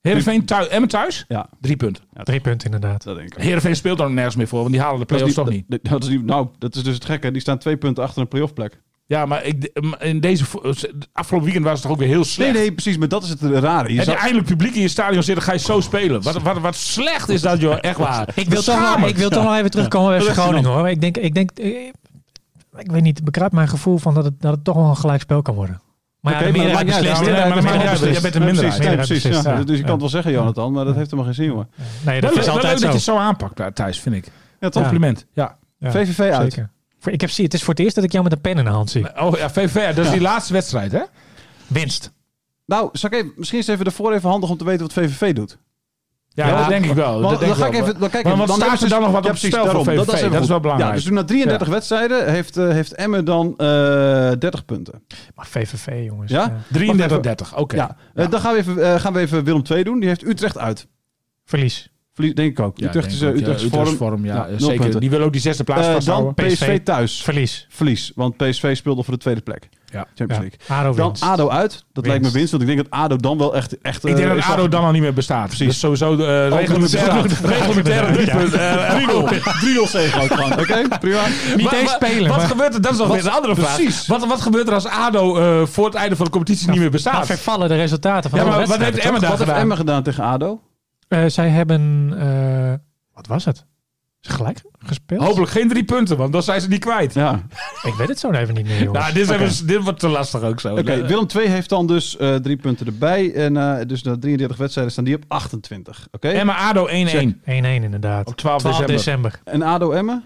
Heerenveen thuis, Emmen thuis? Ja, Drie punten. Drie punten inderdaad. dat denk ik. Heerenveen speelt er nergens meer voor, want die halen de play-offs toch niet. dat- dat is die- nou, dat is dus het gekke. Die staan twee punten achter een playoffplek. Ja, maar ik, in deze, vo- afgelopen weekend was het toch ook weer heel Nee, slecht. nee, precies. Maar dat is het rare. Je Heb je zou- eindelijk publiek in je stadion zitten, ga je zo spelen. Wat, wat, wat slecht is dat, joh. Echt waar. Ik wil, toch wel, ik wil toch wel even terugkomen bij FC Dat is Groningen hoor. Ik denk, ik denk, eh, ik weet niet, bekruipt mijn gevoel van dat het, dat het toch wel een gelijkspel kan worden. Maar Oké, ja, de maar dat meerderheid maakt niet uit. beslist. Ja, hè. maar dat maakt niet uit. Jij bent een minderheid. Precies, ja, precies, ja. Ja. Dus je kan het wel zeggen, Jonathan, maar dat heeft helemaal geen zin, hoor. Nee, dat Dat is altijd dat je zo. het zo aanpakt, Thijs, vind ik. Ja, toch? Compliment. Ja. Ja, VVV uit. zeker. Voor- Ik heb, zie- het is voor het eerst dat ik jou met een pen in de hand zie. Oh ja, VVR, dat is die laatste wedstrijd, hè? Winst. Nou, zal ik even, misschien is even ervoor even handig om te weten wat VVV doet. Ja, dat denk ik wel. Want Dat Oh, denk dan ga ik ik wel. even, dan kijk Maar ik- wat staat hebben ze er dan nog wat ja, op het precies, spel voor daarom. VVV? even Dat is goed. wel belangrijk. Ja, dus toen na 33 wedstrijden heeft, eh, heeft Emmen dan eh 30 punten. Maar VVV, jongens. Eh, Ja? ja. 33-30, oké. Ja. Eh, dan gaan we, even, eh, gaan we even Willem 2 doen. Die heeft Utrecht uit. Verlies. Verlies, denk ik ook. Ja, Utrecht denk is ik eh, ook. Ja, Utrecht is vorm. vorm, ja, Ja, nul zeker. punten. Die wil ook die zesde plaats Eh, vasthouden. dan PSV thuis. Verlies. Verlies, want PSV speelde voor de tweede plek. Ja. Champions Ja. League. ADO Dan winst. ADO uit. Dat lijkt me winst, want ik denk dat ADO dan wel echt... echt ik eh, denk dat is ADO dan al niet meer bestaat. Precies. Dus sowieso de uh, bestaat. reglementaire reglementaire drie punten. eh, 3-0 zegen ook gewoon. Oké, prima. Niet Wa- eens wa- spelen. Wat maar- gebeurt er? Dat is nog Wat- weer een andere vraag. precies. Wat, wat gebeurt er als ADO eh, voor het einde van de competitie niet meer daar bestaat? vervallen de resultaten van Ja, de maar wat wedstrijden, heeft Emma toch? daar Wat heeft gedaan? Emmen gedaan tegen ADO? Eh, zij hebben... eh, wat was het? Is gelijk gespeeld? Hopelijk geen drie punten, want dan zijn ze die kwijt. Ja. Ik weet het zo even niet meer, jongens. Nou, dit, is Oké. even- dit wordt te lastig ook zo. Oké, Eh, Willem 2 heeft dan dus eh, drie punten erbij. En eh, dus na 33 wedstrijden staan die op 28. Oké. Emma ADO 1-1. 1-1 inderdaad. Op 12 december. En ADO Emmen?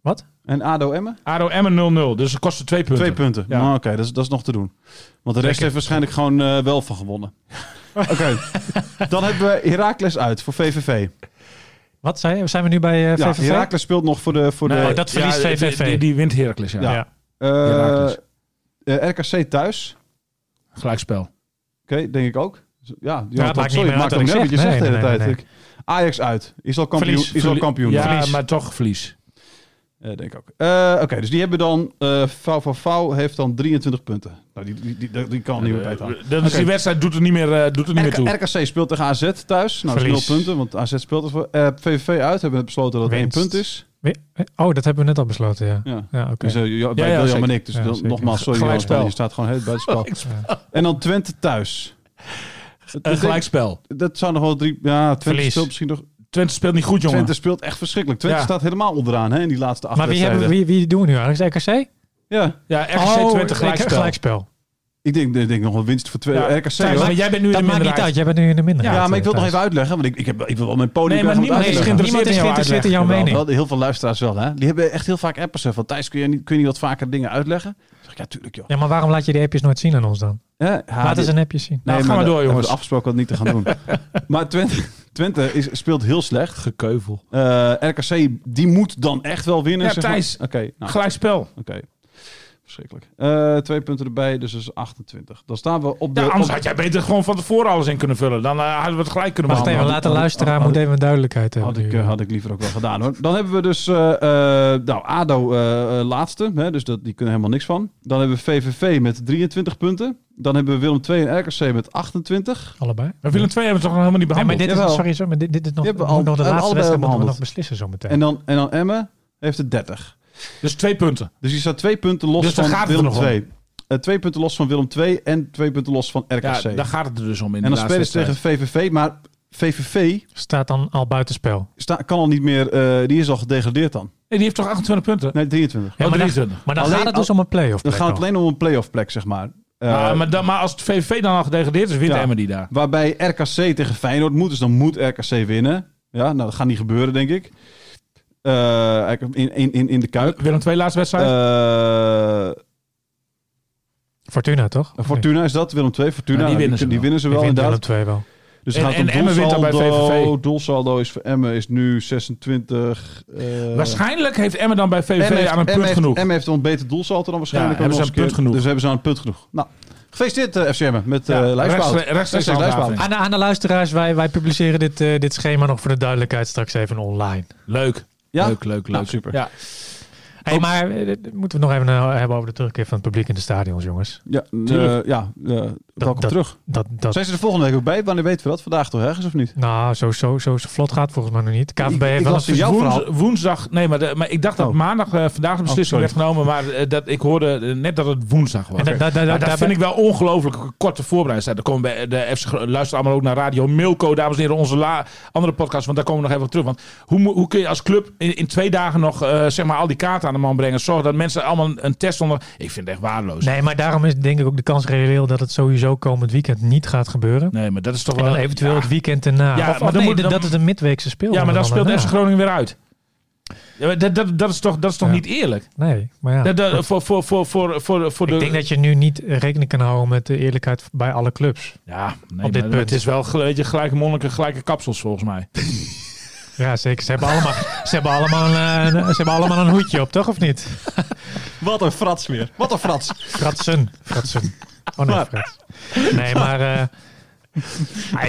Wat? En ADO Emmen? ADO Emmen 0-0. Dus het kostte twee punten. Twee punten. Ja. Nou, Oké, dat, is, dat is nog te doen. Want de rest Lekker. heeft waarschijnlijk gewoon eh, wel van gewonnen. Oké, dan hebben we Heracles uit voor VVV. Wat zei je? Zijn we nu bij eh Ja, VVV? Heracles speelt nog voor de... Voor Nou, de dat verliest Eh, Ja, VVV. Die, die, die wint Heracles, ja. Ja. ja. eh, Heracles. eh, RKC thuis. Gelijkspel. Oké, denk ik ook. Ja, Ja, het maakt niet meer uit maakt wat ook ik niet uit wat je zeg. zegt de hele Nee, nee, tijd. nee, Ajax uit. Is al kampioen. Verlies. is al kampioen. Ja, Verlies. maar toch verlies. Eh, denk ik ook. Eh, Oké, dus die hebben dan... eh VVV heeft dan 23 punten. Nou, die, die, die, die kan niet meer bij het houden. Dus die wedstrijd doet er niet meer, eh, doet er niet meer toe. RK, RKC speelt tegen AZ thuis. Nou, dat is Verlies. 0 punten, want AZ speelt er voor. Eh, VVV uit hebben we besloten dat het één Winst. punt is. We- Oh, dat hebben we net al besloten, ja. Ja. Ja, oké. Dus, eh, ja, Ja, bij ja, William en zeker. ik. Dus Ja, dan- zeker. nogmaals, sorry Gelijkspel. Jonathan, je staat gewoon heel Oh. buitenspel. Eh, Ja. En dan Twente thuis. Een gelijkspel. Dat zou nog wel drie... Ja, Twente Eh, Verlies. speelt misschien nog... Twente speelt niet goed, jongen. Twente speelt echt verschrikkelijk. Twente Ja. staat helemaal onderaan hè, in die laatste acht Maar wie, hebben, wedstrijden. wie, wie doen we nu eigenlijk? Is het RKC? Ja, Ja, RC Twente Oh, ik- gelijkspel. gelijkspel. ik denk, ik denk nog wel winst voor twee, Ja, RKC. Thijs, hoor. maar jij bent nu in Dat de maakt niet minderheid. uit. Jij bent nu in de minderheid. Ja, maar ik wil het nog Thijs. even uitleggen, want ik, ik, heb, ik wil wel mijn podium Nee, maar krijgen om het uit niemand te is leggen. geïnteresseerd in jouw Niemand is geïnteresseerd in jouw uitleg. mening. Wel, heel veel luisteraars wel, hè? Die hebben echt heel vaak appers hè, van Thijs, kun je, niet, kun je niet wat vaker dingen uitleggen? Dan zeg ik, ja, tuurlijk joh. Ja, maar waarom laat je die appjes nooit zien aan ons dan? Hè? Ha, Laat dit- eens een appje zien. Nou, Nee, ga maar dat- door, hebben we jongens. afgesproken dat niet te gaan doen. maar Twente, Twente is, speelt heel slecht. Gekeuvel. Eh, RKC, die moet dan echt wel winnen. Ja, zeg maar. Thijs. Oké, nou, Gelijkspel. oké. Verschrikkelijk. Eh, twee punten erbij, dus dat is 28. Dan staan we op de... Ja, anders op- had jij beter gewoon van tevoren alles in kunnen vullen. Dan eh, hadden we het gelijk kunnen Wacht even, behandelen. laat de luisteraar moet even duidelijkheid hebben. Had ik, nu. eh, had ik liever ook wel gedaan hoor. Dan hebben we dus eh, eh, nou, ADO eh, eh, laatste. Hè, dus dat, die kunnen helemaal niks van. Dan hebben we VVV met 23 punten. Dan hebben we Willem 2 en RKC met 28. Allebei. We willen twee hebben we toch nog helemaal niet Nee, maar behandeld. dit Jawel. is, sorry, sorry, maar dit, dit is nog, Die hebben moet al- nog de hebben laatste allebei wedstrijd moeten we behandeld. nog beslissen zometeen. En dan, en dan Emmen heeft er 30. Dus twee punten. Dus die staat twee punten los Dus daar gaat van het Willem er nog om. 2. Eh, twee punten los van Willem 2 en twee punten los van RKC. Ja, daar gaat het er dus om in en dan de laatste spelen ze tegen wedstrijd. VVV. Maar VVV Staat dan al buitenspel. sta, kan al niet meer... eh, die is al gedegradeerd dan. Nee, die heeft toch 28 punten? Nee, 23. Ja, Ja, maar maar daar- 23. Maar dan Alleen gaat het al- dus om een Dan play-off. plek gaat het nog. alleen om een play-off plek, zeg maar. Eh, Ah, maar, dan, maar als het VVV dan al gedegradeerd is, wint Ja. Emmen die daar. Waarbij RKC tegen Feyenoord moet. Dus dan moet RKC winnen. Ja, nou, dat gaat niet gebeuren, denk ik. Eh, eigenlijk in, in, in, in de Kuip. Willem twee laatste wedstrijd. Eh, Fortuna, toch? Fortuna is dat. Willem 2, Fortuna. Ja, Nou, die winnen ze die wel. winnen ze wel, Willem inderdaad. 2 wel. Dus het En- gaat om en Emmen wint dan bij doelsaldo. VVV. Doelsaldo is voor Emmen is nu 26. eh, Waarschijnlijk heeft Emmen dan bij VVV Emmen heeft- aan een punt Emmen heeft- genoeg. Emmen heeft een beter doelsaldo dan waarschijnlijk. Ja, ook hebben nog ze aan eens een punt keer. Dus hebben ze aan een punt genoeg. Nou, gefeliciteerd eh, FC Emmen met eh Ja, lijfsbouw. rechtstreeks- rechtstreeks handhaving. Aan de, aan de luisteraars, wij, wij publiceren dit, eh, dit schema nog voor de duidelijkheid straks even online. Leuk. Ah. Ja? Leuk, leuk, leuk. Nou, super. Ja. Hey, maar eh, dit- dit moeten we nog even eh, hebben over de terugkeer van het publiek in de stadions, jongens. Ja, eh, Tuurlijk. ja eh, welkom dat- terug. Dat, dat, Zijn ze de volgende week ook bij? Wanneer weten we dat? Vandaag toch ergens of niet? nou, zo, zo, zo, zo vlot gaat volgens mij nog niet. KVB heeft ik wel las een in jouw Dus Woens- verhaal. woensdag, nee, maar, de- maar ik dacht dat Oh. maandag, eh, vandaag de beslissing sorry. werd genomen, maar eh, dat, ik hoorde eh, net dat het woensdag was. En da- da- da- Maar dat daarbij- vind ik wel ongelooflijk een korte voorbereidingstijd. Dan komen bij de FC, Gro- luister allemaal ook naar Radio Milko, dames en heren, onze la- andere podcast, want daar komen we nog even op terug. Want hoe, mo- hoe kun je als club in, in twee dagen nog eh, zeg maar al die kaarten aan de man brengen? Zorg dat mensen allemaal een, een test onder. Ik vind het echt waardeloos. Nee, Nee, maar daarom is denk ik ook de kans reëel dat het sowieso komend weekend niet gaat gebeuren. maar dat is toch En wel dan eventueel Ja. het weekend erna. Ja, Ja, maar dan nee, moet- dat- dan- dat het een midweekse speel Ja, maar dan speelt daarna. FC Groningen weer uit. Ja, maar dat, dat, dat is toch, dat is toch Ja. niet eerlijk? Nee, maar ja. Dat, dat, voor, voor, voor, voor, voor, voor de... Ik denk dat je nu niet eh, rekening kan houden met de eerlijkheid bij alle clubs. Ja, nee, dit maar punt. het is wel gel- weet je, gelijke monniken, gelijke kapsels volgens mij. Ja, zeker. Ze hebben allemaal, ze hebben allemaal, een, eh, een- ze hebben allemaal een hoedje op, toch? Of niet? Wat een frats weer. Wat een frats. Fratsen. Fratsen. Oh nee, Frats. Nee, maar... eh, ah,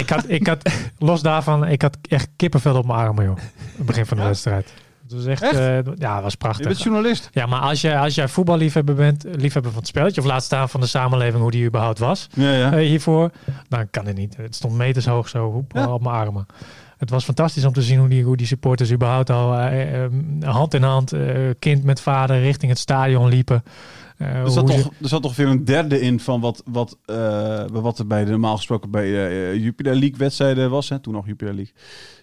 ik, had, ik had, los daarvan, ik had echt kippenvel op mijn armen, joh. Het begin van de wedstrijd. Het was echt... Echt? eh, ja, het was Je bent prachtig. journalist. Ja, maar als jij, als jij voetballiefhebber bent, liefhebber van het spelletje... of laat staan van de samenleving, hoe die überhaupt was... Ja, ja. eh, hiervoor, dan kan het niet. Het stond metershoog zo hoep, Ja. op mijn armen. Het was fantastisch om te zien hoe die, hoe die supporters überhaupt al eh, eh, hand in hand, eh, kind met vader, richting het stadion liepen. Eh, Er zat, hoe ze- Dus toch, er zat toch weer een derde in van wat, wat, eh, wat er bij de, normaal gesproken bij eh, Jupiler League wedstrijden was. Hè? Toen nog Jupiler League.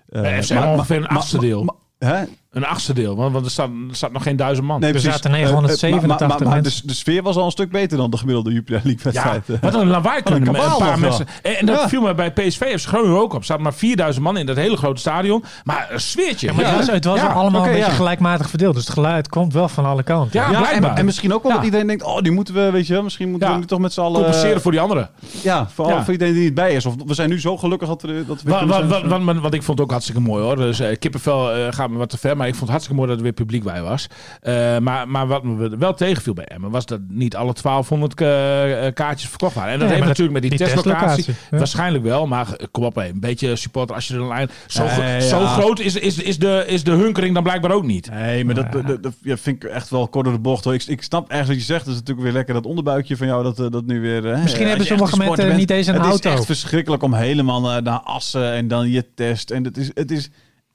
Eh, Bij FC ongeveer een achtste deel. maar- hè? Een achtste deel, want, want er, staat, er staat nog geen duizend man. Nee, Er precies. zaten Eh, eh, 987 maar- maar- maar mensen. de, de sfeer was al een stuk beter dan de gemiddelde Jupiler League ja, wedstrijd. wat een lawaai kunnen Wat een met een kabaal paar was dat. mensen. En, en dat Ja. viel me bij PSV heeft Groningen ook op. Er zaten maar 4000 man in dat hele grote stadion. Maar een sfeertje. Ja, maar het was, het was Ja, allemaal oké, een beetje ja. gelijkmatig verdeeld. Dus het geluid komt wel van alle kanten. Ja, Ja, en, blijkbaar. en misschien ook wel Ja. dat iedereen denkt, oh, die moeten we, weet je, wel, misschien moeten Ja. we nu toch met z'n allen... eh, compenseren voor die anderen. Ja, voor, Ja. voor iedereen die niet bij is. Of we zijn nu zo gelukkig dat, we- dat we... Wat, kunnen wat, zijn. wat, wat, wat- wat ik vond ook hartstikke mooi hoor. Dus eh, kippenvel eh, gaat me wat te ver. Maar ik vond het hartstikke mooi dat er weer publiek bij was. Eh, maar, maar wat me wel tegenviel bij Emmen was dat niet alle 1200 ka- eh, kaartjes verkocht waren. En dat Nee, heeft maar dat- natuurlijk met die, die testlocatie. testlocatie, ja. Waarschijnlijk wel. Maar eh, kom op, hé, een beetje supporter als je er een lijn. Zo, gro- Eh, ja. zo groot is, is, is, de, is de hunkering dan blijkbaar ook niet. Nee, maar Nou dat, dat, dat ja, vind ik echt wel kort door de bocht. Hoor. Ik, ik snap echt wat je zegt. Het is natuurlijk weer lekker dat onderbuikje van jou dat, eh, dat nu weer... eh, Misschien eh, hebben als je sommige echt een mensen sporter niet bent. eens een Het auto. is echt verschrikkelijk om helemaal naar, naar Assen en dan je test. En het is, het is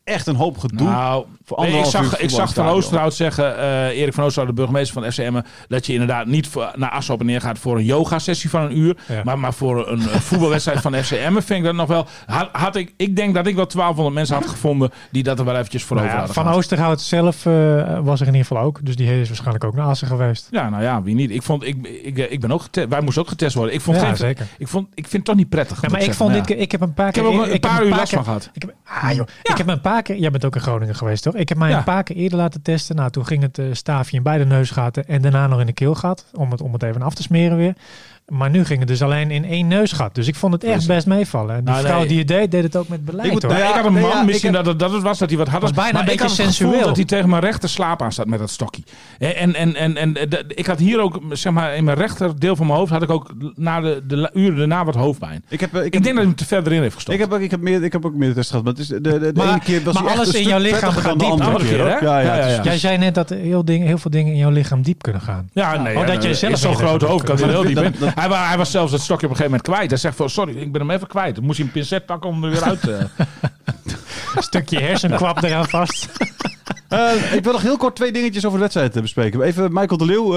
echt een hoop gedoe. Nou, Voor nee, ik anderhalf uur zag, ik zag Van voetbalstadion. Oosterhout zeggen, eh, Erik van Oosterhout, de burgemeester van FCM, dat je inderdaad niet voor, naar Assen op en neer gaat voor een yoga-sessie van een uur, Ja. maar, maar voor een eh, voetbalwedstrijd van FCM vind ik dat nog wel. Had, had ik, ik denk dat ik wel 1200 mensen had gevonden die dat er wel eventjes voor Nou over ja, hadden. van gehad. Oosterhout zelf eh, was er in ieder geval ook. Dus die is waarschijnlijk ook naar Assen geweest. Ja, nou ja, wie niet. Ik vond, ik, ik, eh, ik ben ook getest, wij moesten ook getest worden. Ik vond Ja, geen- zeker. Ik, vond, ik vind het toch niet prettig. Ja, moet maar ik zeggen. vond Ja. dit, keer- ik heb een paar Ik keer... heb ook een ik heb paar uur paar last keer- van gehad. Ik heb, ah, joh. ik heb me een paar keer... Jij bent ook in Groningen geweest, toch? Ik heb mij Ja. een paar keer eerder laten testen. Nou, toen ging het eh, staafje in beide neusgaten en daarna nog in de keelgat. Om het, om het even af te smeren weer. Maar nu ging het dus alleen in één neusgat. Dus ik vond het echt best meevallen. En die Nou, vrouw nee. die het deed, deed het ook met beleid. Ik moet- hoor. Nou ja, ik had een nee, man, ja, ik misschien heb- dat, het, dat het was dat hij wat had. Was bijna een ik beetje had het gevoel sensueel. dat hij tegen mijn rechter slaap aan staat met dat stokje. En, en, en, en, en eh, dat- ik had hier ook, zeg maar, in mijn rechter deel van mijn hoofd had ik ook na de, de la- uren daarna wat hoofdpijn. Ik heb, eh, ik heb, Ik denk dat hij hem te verder in heeft gestopt. ik heb, ook- ik heb, meer, ik heb ook meer test gehad. Maar, het is de, de, de Maar- ene keer was maar hij echt alles een in stuk jouw lichaam prettiger gaat dan de diep. andere keer. Andere hoor. keer, ja, hè? ja, Ja, het is- ja, Jij zei net dat heel, ding, heel veel dingen in jouw lichaam diep kunnen gaan. ja, nee, Oh, ja, dat jij is zelf zo'n in je groot rechter hoofd kan er kunt. heel diep Dat- in. dat- Hij, wa- hij was zelfs dat stokje op een gegeven moment kwijt. Hij zegt van, sorry, ik ben hem even kwijt. Dan moest hij een pincet pakken om er weer uit te... Een stukje hersenkwap eraan vast. Eh, ik wil nog heel kort twee dingetjes over de wedstrijd eh, bespreken. Even Michael de Leeuw. eh,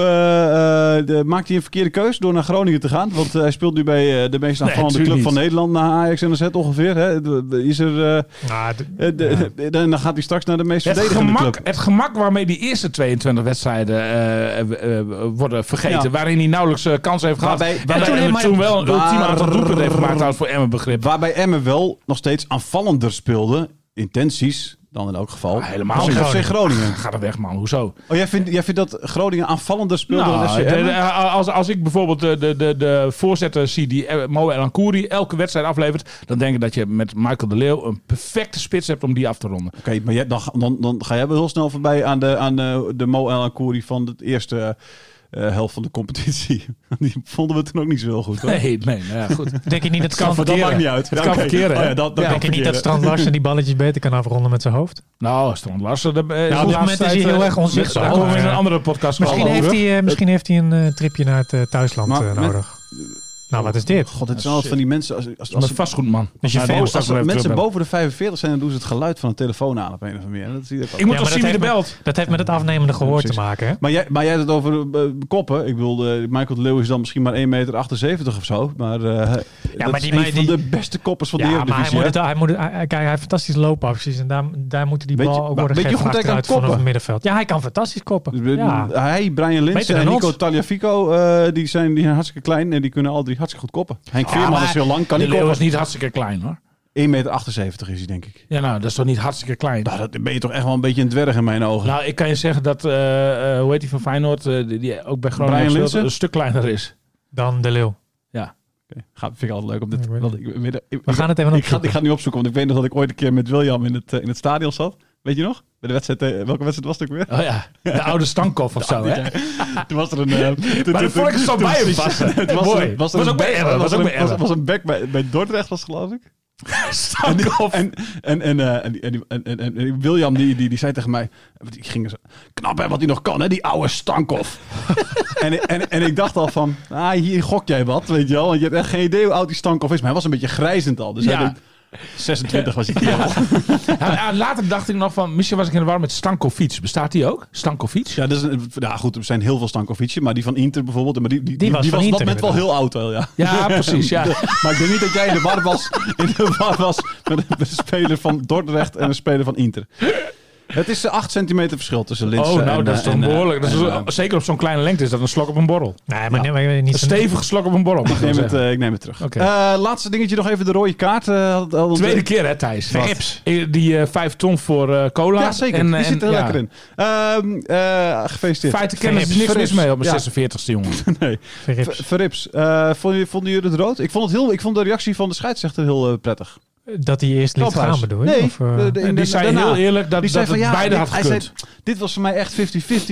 eh, de- maakt hij een verkeerde keus door naar Groningen te gaan? Want hij speelt nu bij eh, de meest aanvallende natuurlijk club van niet. Nederland. Na Ajax en AZ ongeveer. Hè? De- de- Is er, eh, Nou, d- eh, de- de- dan gaat hij straks naar de meest Het verdedigende gemak, club. het gemak waarmee die eerste 22 wedstrijden eh, eh, eh, worden vergeten. Ja. Waarin hij nauwelijks eh, kansen heeft gehad. Waarbij- en waarbij- toen, maar- toen wel een ultiem aantal waar- doelpunten heeft gemaakt trouwens, voor Emmen begrip. Waarbij Emmen wel nog steeds aanvallender speelde. Intenties dan in elk geval. Ah, helemaal Als niet. FC Groningen. Ga er weg man, hoezo? Oh, jij vindt, jij vindt dat Groningen aanvallender speelde dan FC Nou, de- Emmen? de- als, als ik bijvoorbeeld de, de, de, de voorzetter zie die eh, Mo El Ankouri elke wedstrijd aflevert. Dan denk ik dat je met Michael de Leeuw een perfecte spits hebt om die af te ronden. Oké, maar jij, dan, ga- dan, dan ga jij wel heel snel voorbij aan de, aan de, de Mo El Akouri van het eerste eh, helft van de competitie. Die vonden we toen ook niet zo heel goed. Hoor. Nee, nee, nou ja, goed. denk je niet dat kan Strand, dat verkeren. maakt niet uit. Het Ja, kan oké. verkeren, hè? Oh ja, dat, dat Ja, kan denk je niet dat verkeren. Strand Larsen die balletjes beter kan afronden met zijn hoofd? Nou, Strand Larsen. de- eh, op dit laatste moment is hij tijd, heel eh, erg onzichtbaar. Daar komen we in een Ja. andere podcast wel Misschien over. heeft, hij, eh, misschien heeft hij een eh, tripje naar het eh, thuisland Maar eh, met- nodig. Nou, wat is dit? God, het zijn altijd van die mensen. Als, als, als, Dat is een vastgoedman. Als je Ja, die veel- als, moet straks als wel even mensen terugbellen. boven de 45 zijn, dan doen ze het geluid van een telefoon aan op een of andere manier. Dat zie ik ook. Ik moet Ja, wel maar zien wie dat er heeft belt. Dat heeft met het afnemende gehoor te precies. maken. Hè? Maar jij, maar jij had het over eh, koppen. Ik bedoel, eh, Michael de Leeuw is dan misschien maar 1,78 meter of zo. Maar, eh dat maar is die- een maar van die- de beste koppers van de Ja, maar hij Eredivisie. moet hè? het, hij moet het, hij, kijk, hij heeft fantastische loopacties en daar, daar moeten die Weet je- bal ook maar worden weet je gegeven hoe goed hij kan achteruit vanaf koppen? het middenveld. Ja, hij kan fantastisch koppen. Dus we- Ja. Hij, Brian Beter Linsen dan en Nico ons. Tagliafico, eh, die, zijn, die zijn hartstikke klein en die kunnen al drie hartstikke goed koppen. Henk Veerman maar is heel lang, kan de niet leeuw koppen. is niet hartstikke klein hoor. 1,78 meter is hij, denk ik. Ja, nou, dat is toch niet hartstikke klein? Nou, dat dan ben je toch echt wel een beetje een dwerg in mijn ogen. Nou, ik kan je zeggen dat, eh, eh, hoe heet die van Feyenoord, eh, die, die ook bij Groningen Brian speelt, Linssen? een stuk kleiner is. Dan de Leeuw. Oké, Ga, vind ik altijd leuk om dit... Ik weet want ik, weet- ik- ik- We gaan het even ik, ga, opzoeken. ik ga het nu opzoeken, want ik weet nog dat ik ooit een keer met William in het, eh, in het stadion zat. Weet je nog? Bij de wedstrijd, eh, welke wedstrijd was het ook weer? Oh ja, de oude Stankov of zo, hè? Toen was er een... eh, toen- Maar de toen- vork is al toen- bij hem vast. Het was, Mooi. er- was, er Was een ook bij back- Emmen, was was ook er bij een- was- Emmen. was een back bij, bij Dordrecht, was het, geloof ik. Stankov. En, en, en, eh, en, die- en, die- en, en, en- en William die, die, die zei tegen mij, want die ging zo, knap hè, wat hij nog kan hè, die oude Stankov. en, en, en ik dacht al van, ah, hier gok jij wat, weet je wel. Want je hebt echt geen idee hoe oud die Stankov is. Maar hij was een beetje grijzend al. Dus hij Ja. denkt, 26 was hij. Ja, Ja, ja, later dacht ik nog van, misschien was ik in de war met Stankovic. Bestaat die ook? Stankovic? ja, dat is een, ja goed, er zijn heel veel Stankovic'en. Maar die van Inter bijvoorbeeld. Maar die, die, die was, was van op dat Inter, moment wel heel oud wel, ja. Ja, precies, ja. Maar ik denk niet dat jij in de war was, in de war was met, een- met een speler van Dordrecht en een speler van Inter. Het is eh, 8 centimeter verschil tussen Linse Oh, nou, en, dat is eh, toch en, eh, behoorlijk. Dat is, en, wel- eh, zeker op zo'n kleine lengte is dat een slok op een borrel. Nee, maar, nee, maar niet Een zo- stevige slok op een borrel, mag ik Ik wel neem, het, zeggen. eh, ik neem het terug. Oké. Eh, laatste dingetje nog even de rode kaart. eh, had- hadden we- Tweede keer, hè, Thijs? Wat? Rips. Eh, Die eh, vijf ton voor eh, cola. Ja, zeker. En, Die eh, zit er en- lekker ja. in. Ehm eh, gefeliciteerd. Feiten kennen er is Verrips. niks mis mee op mijn Ja. 46e, jongen. Verrips. Ver- Verrips. Eh, vonden, jullie- vonden jullie het rood? Ik vond, het heel, ik vond de reactie van de scheidsrechter heel eh, prettig. Dat hij eerst liet Kamphuis. gaan, bedoel je? Nee, Of, eh, de- de- En die zei daarna. heel eerlijk dat, Die dat zei het van ja, beide dit- had hij gekund. Dit was voor mij echt 50-50.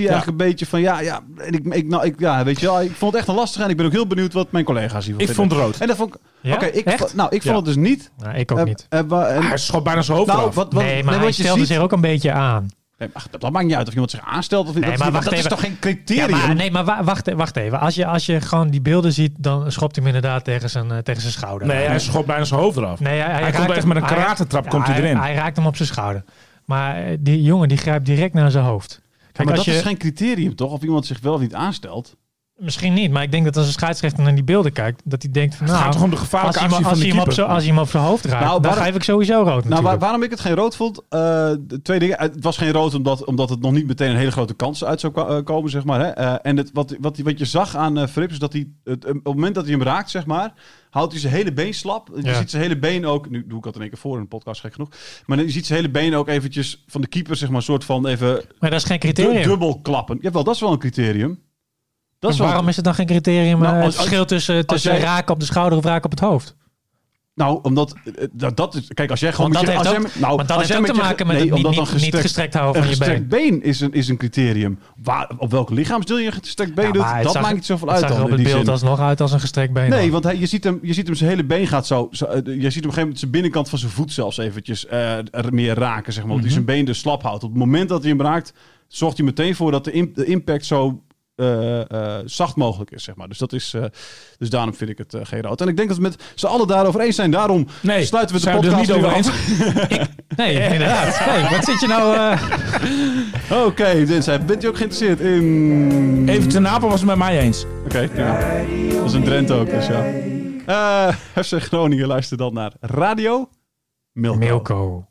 Eigenlijk een beetje van ja, ja, en ik, ik, nou, ik, ja, weet je wel. Ik vond het echt een lastige en ik ben ook heel benieuwd wat mijn collega's hiervan ik vinden. vond het rood. En dat vond ik... ja? Oké, ik, Echt? vond- nou, ik vond Ja. het dus niet. Nou, ik ook Eh, niet. eh, wa- en- Hij schot bijna zijn hoofd nou, eraf. wat, wat, nee, maar wat hij je stelde ziet- zich ook een beetje aan. Nee, maar dat maakt niet uit of iemand zich aanstelt of niet. Nee, dat maar dat wacht is even. toch geen Ja, criterium? maar, nee, maar wa- wacht, wacht even. Als je, als je gewoon die beelden ziet, dan schopt hij hem inderdaad tegen zijn, eh, tegen zijn schouder. nee, hij schot bijna zijn hoofd Nou, eraf. Nee, hij, hij, komt raakt echt hem- met een hij- karatetrap komt hij erin. Hij raakt hem op zijn schouder. Maar eh, die jongen die grijpt direct naar zijn hoofd. Kijk, Maar als dat je, is geen criterium toch? Of iemand zich wel of niet aanstelt. Misschien niet, maar ik denk dat als een scheidsrechter naar die beelden kijkt, dat hij denkt van het nou, gaat toch om de als gevaarlijke hij, actie hem, van de als, hij hem op keeper. zo, als hij hem op zijn hoofd raakt, Nou, dan waarom- geef ik sowieso rood natuurlijk. Nou, waar- waarom ik het geen rood vond? eh, de twee dingen. Het was geen rood omdat, omdat het nog niet meteen een hele grote kans uit zou kwa- eh, komen, zeg maar. Hè? Eh, en het, wat, wat, wat je zag aan eh Frips is dat hij, het, op het moment dat hij hem raakt, zeg maar, houdt hij zijn hele been slap. Je Ja. ziet zijn hele been ook, nu doe ik dat in één keer voor in een podcast, gek genoeg. Maar je ziet zijn hele been ook eventjes van de keeper, zeg maar, soort van even maar dat is geen du- criterium. dubbel klappen. Jawel, dat is wel een criterium. Dat is En wel- waarom is het dan geen criterium? Nou, eh, als- het verschil tussen, tussen jij- raken op de schouder of raken op het hoofd. Nou, omdat eh, dat, dat is. Kijk, als jij gewoon. Want met dat je, als heeft jij, nou, Want dat als heeft jij ook met te je- maken met nee, het niet, omdat niet, een gestrekt- niet gestrekt houden Een van je been. gestrekt been is een, is een criterium. Waar, op welk lichaamsdeel je een gestrekt been Ja, maar doet, het dat zag- maakt niet zoveel het uit zag er dan. op in het die beeld zin. alsnog uit als een gestrekt been. Nee, dan. want hij, je, ziet hem, je ziet hem zijn hele been gaat zo. zo, eh, je ziet hem op een gegeven moment zijn binnenkant van zijn voet zelfs eventjes eh, er meer raken. Zeg maar, want Mhm. die zijn been dus slap houdt. Op het moment dat hij hem raakt, zorgt hij meteen voor dat de, im- de impact zo eh, eh, zacht mogelijk is. Zeg maar. dus, dat is eh, dus daarom vind ik het eh, geen rood. En ik denk dat we met z'n allen daarover eens zijn. Daarom Nee, sluiten we de zijn we er podcast niet nu over af. nee inderdaad. Nee, wat zit je nou... eh, Oké, Dinsdag, bent u ook geïnteresseerd in... Even ten Apel was het met mij eens. Oké, prima. dat is een Drenthe ook dus, ja. Eh, FC Groningen, luister dan naar Radio Milko. Milko.